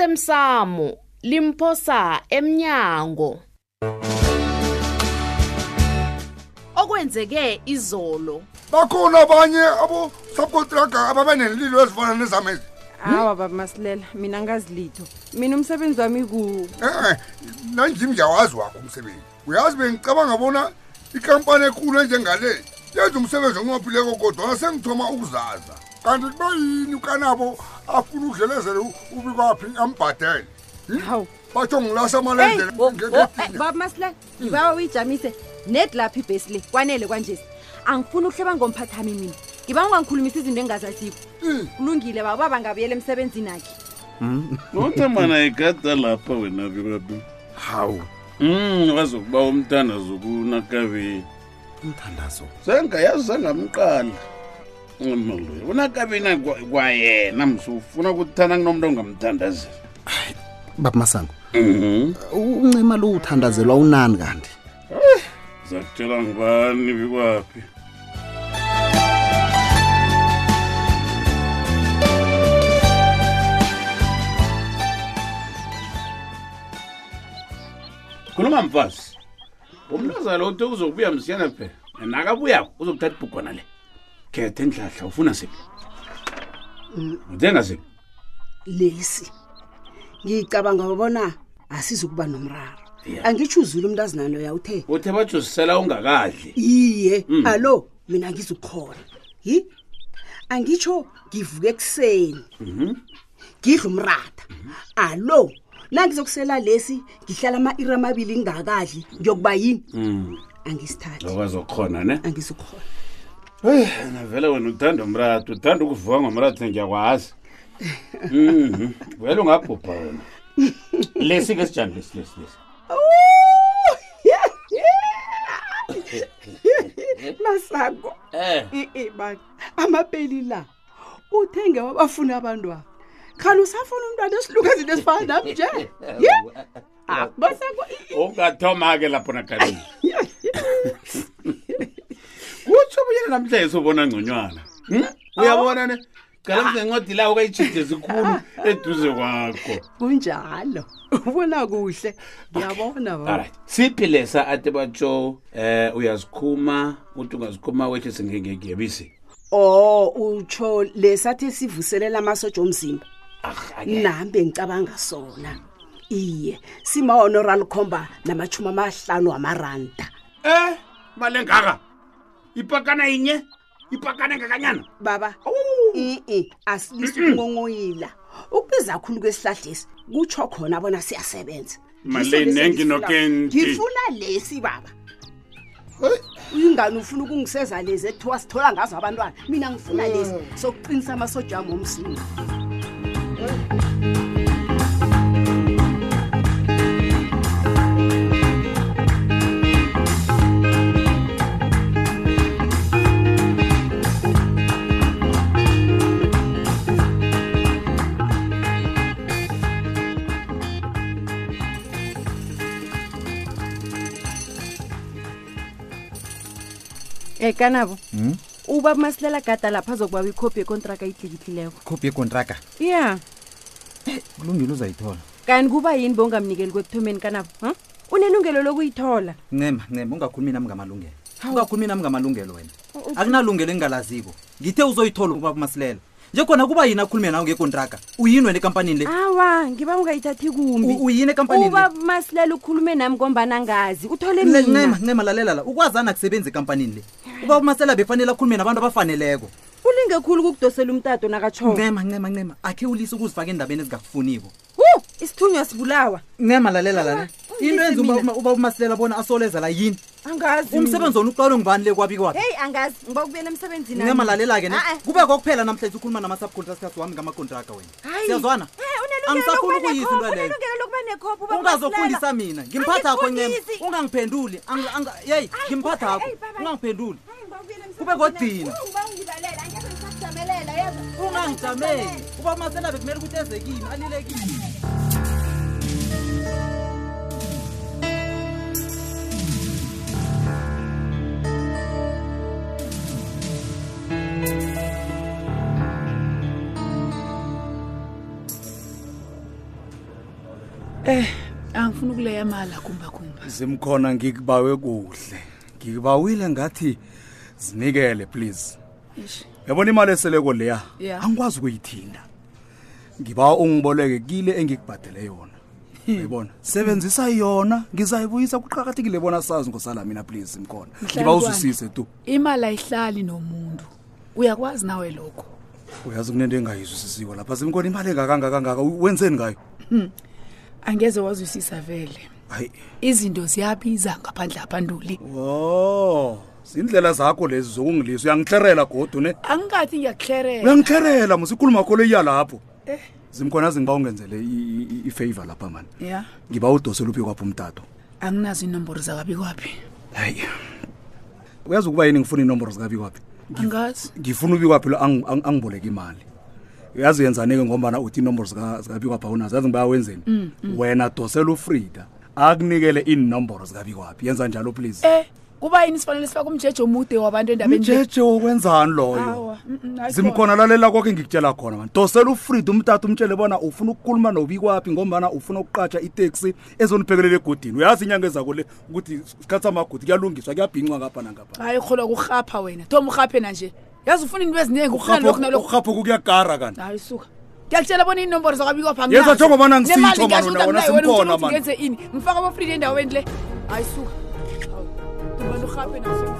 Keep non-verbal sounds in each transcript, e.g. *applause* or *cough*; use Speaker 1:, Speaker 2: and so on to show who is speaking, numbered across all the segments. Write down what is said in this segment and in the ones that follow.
Speaker 1: osemsamo limphosa emnyango okwenzeke izolo
Speaker 2: bakhona abanye abo-subcontraga ababe nelilo ezifana nezam ezi
Speaker 3: hawa baba masilela mina ngazilitho mina umsebenzi wami ku
Speaker 2: e-e nanjim ngiyawazi wakho umsebenzi uyazi bengicabanga bona ikampani ekulu enjengale yenza umsebenzi onqophileko kodwana sengithoma ukuzaza kanti kuba yini ukanabo afuna udlelezele u- ubikwaphi ambhadele
Speaker 3: hawu
Speaker 2: batsho ngilasa
Speaker 3: Hey,
Speaker 2: amalendele
Speaker 3: wo-
Speaker 2: nge-
Speaker 3: wo-
Speaker 2: ngedina.
Speaker 3: eh, baba masilela ngibawa uyijamise ned lapho ibhesi le kwanele kwanjesi angifuni ukuhleba ngomphathami mina ngiba ungangikhulumisa izinto engingazaziko
Speaker 2: Mm.
Speaker 3: kulungile baba ubaba ngabuyela emsebenzini akhe
Speaker 4: nothambana igada lapha wena bibabi
Speaker 5: hawu
Speaker 4: um wazokuba umthandazo kunakabeni
Speaker 5: umthandazo
Speaker 4: sengayazi sangamqala umaloyo unakabeni kwa- kwayena msufuna ukuthana kunomuntu ongamthandazela
Speaker 5: baba masango uncema lo uthandazelwa unani kanti
Speaker 4: zakutshela ngubani bikwaphi khuluma mfazi umntazalo uthe uzokubuya msiyana phela nakabuyako uzokuthatha ibhugwana le khetha endlahla ufuna siphi uthenga siphi
Speaker 6: lesi ngicabanga ubona asizukuba nomraro
Speaker 4: Yeah.
Speaker 6: angitshuzule umntu azinaloya uthe
Speaker 4: uthe bajosisela ungakadli
Speaker 6: iye alo mina ngizukhona yi angitsho ngivuke ekuseni ngidla umratha alo nangizokusela lesi ngihlala ama-iri amabili ngingakadli ngiyokuba yini angisithathi
Speaker 4: okwazokhona ne
Speaker 6: angizukhona
Speaker 4: eyi navele wena uthanda umratha uthanda ukuvuka ngomratha ngiyakwazi Mhm. vele ungabhubha wena lesi ke sijani lesi lesi lesi
Speaker 6: masango
Speaker 4: Eh.
Speaker 6: ee bani amapeli la uthenge wabafuna abantwana khani usafuna umntwana esiluka izinto esifana nami nje ye Ah, masango i-
Speaker 4: ungathoma ke lapho nakaleni kutsho buyena namhlanje ubona ngconywana Hmm? uyabona ne galamzencwadi la ukayitshide zikhulu eduze kwakho
Speaker 6: kunjalo ubona kuhle ngiyabona baba.
Speaker 4: allright siphi lesa ate batsho um uyazikhuma uthi ungazikhuma wehlise ngengegiyabisi
Speaker 6: o Oh, utsho lesathi sivuselela amasotsha omzimba nami bengicabanga sona iye sima-honoral khomba namachumi amahlanu wamaranda
Speaker 4: Eh, mali engaka ipakana inye ipakana engakanyana
Speaker 6: baba i-i asilisungongoyila ukubiza khulu kwesihlahlesi kutsho khona bona siyasebenza
Speaker 4: Maleni
Speaker 6: Ngiso lesi
Speaker 4: enginokenti.
Speaker 6: ngifuna lesi baba ingani ufuna ukungiseza lezi ekuthiwa sithola ngazo abantwana mina ngifuna lesi sokuqinisa amasoja ami omzimba
Speaker 3: um kanabo ubaba masilela gada lapha azokubaba ikhophi yekontraka itlikitlileko
Speaker 7: khophi yekontraka
Speaker 3: ya
Speaker 7: Eh, kulungile uzayithola
Speaker 3: kanti kuba yini bongamnikeli kwekuthomeni kanabo ha unelungelo lokuyithola
Speaker 7: ncema ncema ungakhulumi nami ngamalungelo ungakhulumi nami ngamalungelo wena akunalungelo engingalaziko ngithe uzoyithola ubaba masilela nje khona kuba yini akhulume nawe ngekontraka uyini wena ekampanini
Speaker 3: Ah,
Speaker 7: le
Speaker 3: awa ngiba ungayithathi kumbi
Speaker 7: U- uyini ekampanini le?
Speaker 3: ubaba masilela ukhulume nami ngombana ngazi uthole mina
Speaker 7: Le- ncema ncema lalela la ukwazana kusebenza ekampanini le ubaba masilela bekufanele akhulume nabantu abafaneleko
Speaker 3: ulinge khulu ukukudosela umtato nakatshoko
Speaker 7: ncema ncema ncema akhe ulise ukuzifaka endabeni ezingakufuniko
Speaker 3: hu isithunywa sibulawa
Speaker 7: ncema lalela lana
Speaker 3: ungilisi
Speaker 7: into enza
Speaker 3: mina.
Speaker 7: ubaba umasilela bona asoleza la yini
Speaker 3: angazi
Speaker 7: umsebenzi wona uqalwe ngubani le kwabi kwakhe
Speaker 3: heyi angazi ngiba kubuyela emsebenzini ami.
Speaker 7: ngiyamalalela ke ne
Speaker 3: Ah, ah.
Speaker 7: kube kokuphela namhlanje ukhuluma nama-subcontractors wami ngamakontraka wena
Speaker 3: Hayi.
Speaker 7: siyazwana
Speaker 3: Eh, unelungelo
Speaker 7: angisafuni
Speaker 3: lokuba
Speaker 7: ukuyisa into
Speaker 3: nekhophi,
Speaker 7: leyo
Speaker 3: unelungelo lokuba nekhophi, ubaba
Speaker 7: ungazofundisa
Speaker 3: uMasilela.
Speaker 7: mina ngimphatha akho ncema
Speaker 3: Angikufundisi.
Speaker 7: ungangiphenduli Angi- angi- yeyi
Speaker 3: Hayi,
Speaker 7: ngimphatha
Speaker 3: hayi,
Speaker 7: akho
Speaker 3: hayi, baba.
Speaker 7: ungangiphenduli
Speaker 3: Hayi, ngiba kubuyela emsebenzini
Speaker 7: Kube kodina.
Speaker 3: ami. Hu, ngiba ungilalele, angeke ngisakujamelela, yezwa.
Speaker 7: ungangijameli uba maselabe kumele ukuthi eze kimi alile kimi
Speaker 6: Eh, angifuni ukuleya mala kumbakumba
Speaker 7: zimkhona ngikubawe kuhle ngikubawile ngathi zinikele please
Speaker 6: Ish.
Speaker 7: yabona imali eseleko leya
Speaker 6: Yeah.
Speaker 7: angikwazi ukuyithinda ngiba ungiboleke kile engikubhadele
Speaker 6: *laughs*
Speaker 7: yona uyibona sebenzisa yona ngizayibuyisa kuqakathekile bona sazi ngosala mina please mkhona ngiba
Speaker 6: Mhlalukwana.
Speaker 7: uzwisise tu
Speaker 6: imali ayihlali nomuntu uyakwazi nawe lokho
Speaker 7: uyazi kunento engayizwisisiwe lapha zimkhona imali engakanga kangaka wenzeni ngayo
Speaker 6: angeze wazwisisa vele
Speaker 7: hayi
Speaker 6: izinto ziyabiza ngaphandle abanduli
Speaker 7: o zindlela Oh, zakho lezi zokungilisa uyangihlerela godu ne
Speaker 6: angikathi
Speaker 7: Eh.
Speaker 6: ngiyakuhlerela
Speaker 7: uyangihlerela musikhuluma kholo iya lapho
Speaker 6: Eh.
Speaker 7: zimkhona zingiba ungenzele ifavor lapha mani
Speaker 6: ya
Speaker 7: ngiba udosele uphi kwapha umtato
Speaker 6: anginazo iinomboro zakabi kwaphi
Speaker 7: hayi uyazi ukuba yini ngifuna inomboro zikabi kwaphi
Speaker 6: angazi
Speaker 7: ngifuna ubi kwaphi lo angi- angi- angiboleka imali uyazi yenza-neke ngombana uthi inomboro zika- zikabi kwaphi awunazo yazi ngiba wenzeni
Speaker 6: Mm,
Speaker 7: wena dosela ufrida akunikele iinomboro zikabi kwaphi yenza njalo please
Speaker 6: eh kuba yini sifanele sifake umjeje omude wabantu endabeni le?
Speaker 7: mjeje wokwenzani loyo
Speaker 6: Awa, mm, mm, hayi
Speaker 7: zimkhona lalela konke ngikutshela khona mani dosela ufrida umtata umtshele bona ufuna ukukhuluma nobikwaphi ngombana ufuna ukuqatsha iteksi ezoniphekelela egodini uyazi inyanga ezakole ukuthi sikhathi samagodi kuyalungiswa kuyabhincwa ngapha nangapha
Speaker 6: hayi kholwa kurhapha wena tom urhaphena nje yazi ufuna into eziningi urhale lokhu nalokhu
Speaker 7: urhaphuku kuyagara kanti
Speaker 6: hayi suka ngiyakutshela bona iinomboro zakabikwa
Speaker 7: Yenza njengobana ngisitjho, mani, wena simkhona, mani.
Speaker 6: ngenze ini ngifaka abafrida endaweni le hayi suka Hawu, abantu urhaphe nazo.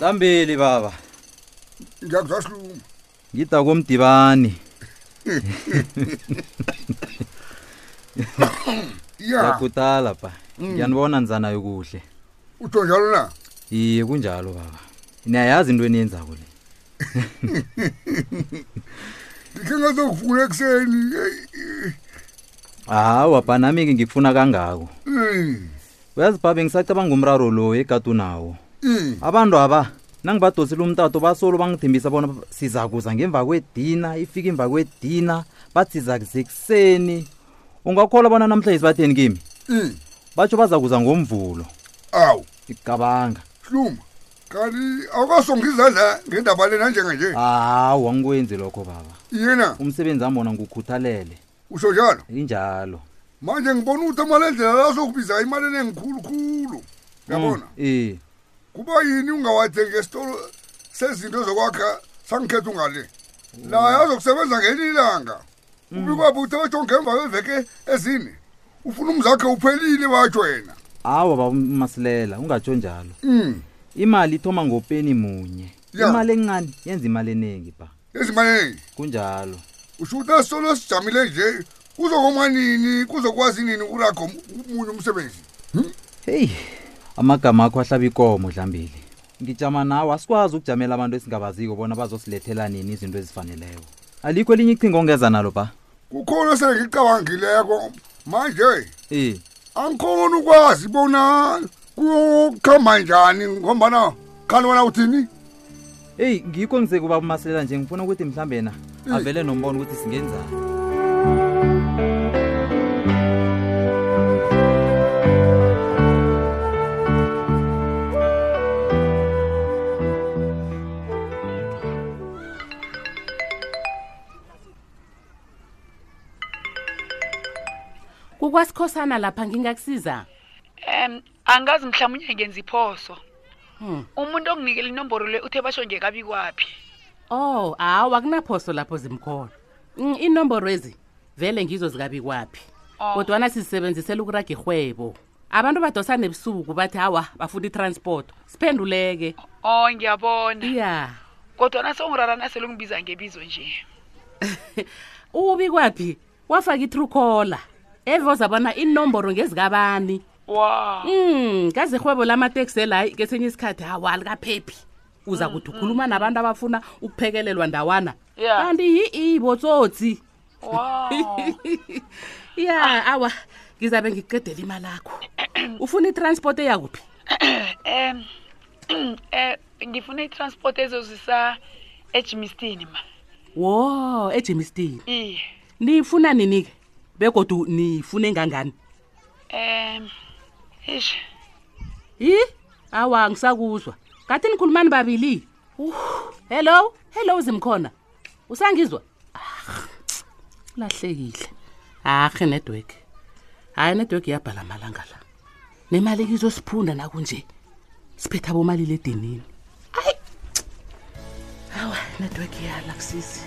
Speaker 8: lambili baba
Speaker 2: ngiyakuzwa silungu
Speaker 8: ngida komdibani
Speaker 2: ya
Speaker 8: ngiyakudala ba
Speaker 6: Mm.
Speaker 8: ngiyanibona nizanayo kuhle
Speaker 2: utsho njalo na
Speaker 8: iye kunjalo baba niyayazi into eniyenzako le
Speaker 2: ndikhe ngazokufuna ekuseni Eh, eh,
Speaker 8: hawa ba nami-ke ngikufuna kangako
Speaker 2: mm,
Speaker 8: uyazi baba ngisacabanga umraro lo egade unawo
Speaker 2: mm.
Speaker 8: abantu aba nangibadosile umtato basolo bangithembisa bona siza kuza ngemva kwedina ifike emva kwedina bathi siza kuzekuseni ungakholwa bona namhlanje sibatheni kimi
Speaker 2: Mm.
Speaker 8: batsho baza kuza ngomvulo
Speaker 2: awu
Speaker 8: icabanga
Speaker 2: hluma kanti awukasonga izandla ngendaba lena
Speaker 7: Ah.
Speaker 2: njenganje
Speaker 8: hawu angikwenzi lokho baba
Speaker 2: yena
Speaker 8: umsebenzi wami wona ngukhuthalele
Speaker 2: usho njalo
Speaker 8: injalo
Speaker 2: manje ngibona ukuthi amalendlela lasokubiza imali enengikhulukhulu yabona
Speaker 7: Mm.
Speaker 8: eh
Speaker 2: kuba yini ungawathengi esitolo sezinto zokwakha sangikhetha ungale naye azokusebenza ngenye ilanga ubikwaphi uthe batsho ngemva kweveke ezine ufuna umzakhe uphelile batsho wena
Speaker 8: awa baba masilela ungatsho njalo
Speaker 2: um
Speaker 8: imali ithoma ngopeni munye
Speaker 2: Ya.
Speaker 8: imali encane yenza imali eningi ba
Speaker 2: ezimaneni
Speaker 8: kunjalo
Speaker 2: usho ukuthi esitolo esijamile nje kuzokoma nini kuzokwazi nini ukuragha omunye umsebenzi
Speaker 8: heyi amagama akho ahlaba ikomo dlambili ngijama nawe asikwazi ukujamela abantu esingabaziko bona bazosilethela nini izinto ezifaneleko alikho elinye icingo ongeza nalo ba
Speaker 2: kukhona esengicabangileko manje
Speaker 8: eh
Speaker 2: angikhona ukwazi bona kuyokuhamba njani ngombana khani wena uthini
Speaker 8: eyi ngikho ngizeke ubaba masilela nje ngifuna ukuthi mhlambe na avele nombono ukuthi singenzani
Speaker 9: kukwasikhosana lapha ngingakusiza
Speaker 6: um angazi mhlawumunye ngenza iphoso umuntu onginikela inomboro le uthe basho nje kabi kwaphi
Speaker 9: oh hawu akunaphoso lapho zimkhona Mm, inomboro ezi vele ngizo zikabi kwaphi kodwana sizisebenzisela ukuraga irhwebo abantu badosa nebusuku bathi hawa bafuna itransport siphenduleke
Speaker 10: Oh.
Speaker 6: o Oh, ngiyabona
Speaker 9: iya
Speaker 6: kodwana songirarana sele ungibiza ngebizo nje
Speaker 9: ubi kwaphi wafaka itrucola evoza bona inomboro ngezikabani
Speaker 6: wa
Speaker 9: um kaze irhwebo lamateksi elayi kesinye isikhathi hawa likaphephi uza kuthi ukhuluma nabantu abafuna ukuphekelelwa ndawana
Speaker 6: Yeah.
Speaker 9: kanti yi-i botsotsi
Speaker 6: wa
Speaker 9: *laughs* ya awa ngizabe ngikuqedela imali akho ufuna itransport eyakuphi
Speaker 10: um *clears throat* um ngifuna itransport ezozisa ejimistini ma
Speaker 9: wo ejemistini
Speaker 10: iye
Speaker 9: nifuna nini-ke begodu nifune engangani
Speaker 10: um ish
Speaker 9: yi awa ngisakuzwa kathi nikhulumani babili Uh, hello hello zimkhona usangizwa Ah, lahlekile akhe network hhayi network iyabhala amalanga la nemali kizosiphunda nakunje siphetha bomalile edinini ayi awa network iyala kusizi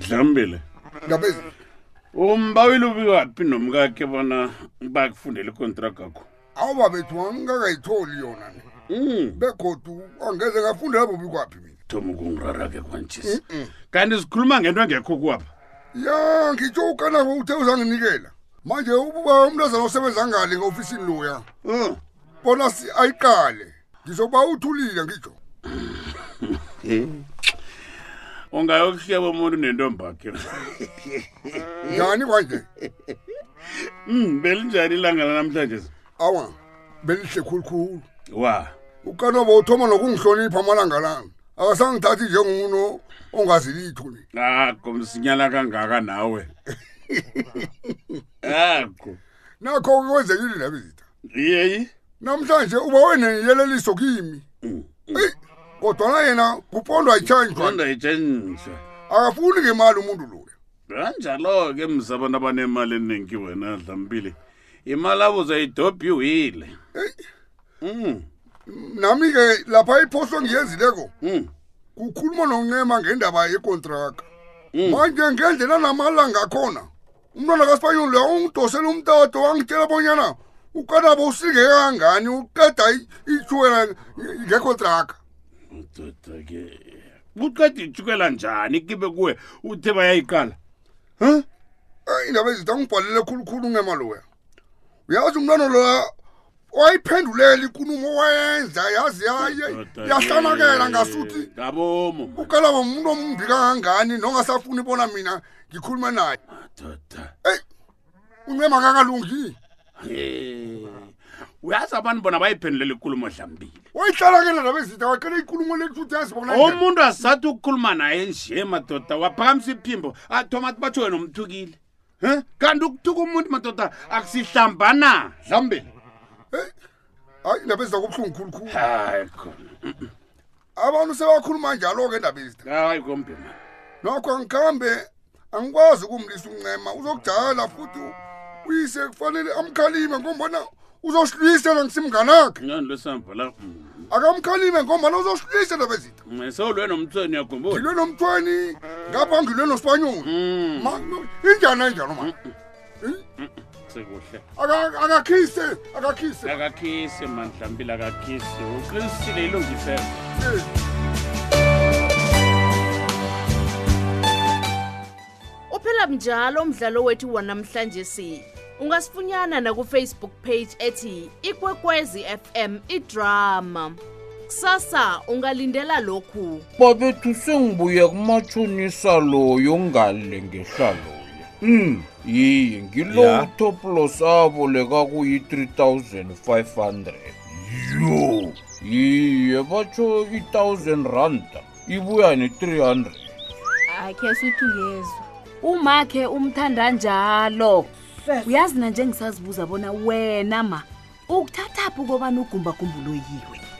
Speaker 4: dlambile
Speaker 2: ngabezi
Speaker 4: umbawile ubiwaphi nomkakhe bona bakufundela ikontrakt akho
Speaker 2: awuba bethu angingakayitholi yona ne
Speaker 4: Mm,
Speaker 2: begodu angeze ngafundela bobi kwaphi mina
Speaker 4: thoma ukungirara-ke kwanjesi kanti sikhuluma ngento engekho kwapha
Speaker 2: ya ngitsho ukanako uthe uzanginikela manje uba umntazana osebenza ngale nge-ofisini loya
Speaker 4: Mm.
Speaker 2: bona si- ayiqale ngizoba uthulile ngitsho
Speaker 4: ungayokuhleba umuntu nentombakhe
Speaker 2: njani kwanje
Speaker 4: Mm, belinjani ilanga lanamhlanje
Speaker 2: awa belihle khulukhulu
Speaker 4: wa
Speaker 2: ukanoba uthoma nokungihlonipha amalanga lami akasangithathi njengomuntu ongazilitho ni
Speaker 4: akho msinyana kangaka nawe akho
Speaker 2: nakho kwenzekile la bizitha
Speaker 4: yeyi
Speaker 2: namhlanje uba weneyeleliso kimi eyi kodwana yena kupondwa yitshanjwa
Speaker 4: qonda itshentshe
Speaker 2: akafuni ngemali umuntu loya
Speaker 4: kanjalo-ke msa abantu abanemali eningi wena dlambile imali abo uzayidobhiwile Mm,
Speaker 2: nami-ke lapha iphoso engiyenzileko
Speaker 4: mm.
Speaker 2: kukhuluma noncema ngendaba yekontraka manje ngendlela namalanga akhona umntwana kasipanyoli loya ungidosele umtato wangitshela bonyana ukanabo usingeke kangani uqeda i- ithuwela ngekontraka
Speaker 4: ndoda-ke kuqeda itshukela njani kibe kuwe uthe bayayiqala
Speaker 2: Eh, indaba ezitha ngibhalele khulukhulu uncema loya uyazi umntwana loya wayiphendulele ikulumo wayenza yazi yaye-
Speaker 4: Ndoda-ke.
Speaker 2: yahlanakela ngasuthi
Speaker 4: ngabomo
Speaker 2: ukanabo umuntu ombi kangangani nongasafuni bona mina ngikhulume naye
Speaker 4: madoda
Speaker 2: uncema kakalungile
Speaker 4: Eh, uyazi abantu bona bayiphendulela ikulumo dlambile
Speaker 2: wayihlala-kela nabezitha waqela ikulumo lekuthi yazibona
Speaker 4: umuntu asathi ukukhuluma naye nje madoda waphakamisa iphimbo athoma athi batsho wena umthukile Huh? kanti ukuthuka umuntu madoda akusihlambana dlambile
Speaker 2: hayi indaba ezitha kubuhlungu khulukhulu
Speaker 4: hayi khona
Speaker 2: abantu sebakhuluma njalo-ke indaba ezitha
Speaker 4: hayi kombe mani
Speaker 2: nokho angikhambe angikwazi ukumlisa uncema uzokujala futhi u- uyise kufanele amkhalime ngombana uzosihluyisela ngisimnganakhe
Speaker 4: ngani lwesamva la Mm.
Speaker 2: akamkhalime ngombana uzosihluyisela bezitha
Speaker 4: sewulwe nomthweni uyakhumbula
Speaker 2: ngilwe nomthweni ngapha ngilwe nosipanyoli
Speaker 4: Mm,
Speaker 2: injani enjalo ma
Speaker 4: sekuhle
Speaker 2: Aka- akakhise akakhise
Speaker 4: akakhisi mani dlambile akakhisi uqinisile ilungisela
Speaker 2: Eh.
Speaker 1: uphela mnjalo umdlalo wethu wanamhlanje si ungasifunyana nakufacebook page ethi ikwekwezi fm idrama kusasa ungalindela lokhu
Speaker 11: babethu sengibuye kumatshonisa loyo ngale ngehlaloya
Speaker 7: um
Speaker 11: yiye ngilo
Speaker 7: Ya.
Speaker 11: utoplos aboleka kuyi-3500
Speaker 7: yo
Speaker 11: yiye batsho i-1000 randa ibuya ne-300
Speaker 12: akhe suthi uyezwa umakhe umthanda njalo uyazi nanje ngisazibuza bona wena ma ukuthathaphi ukobana ugumbagumbuloyiwe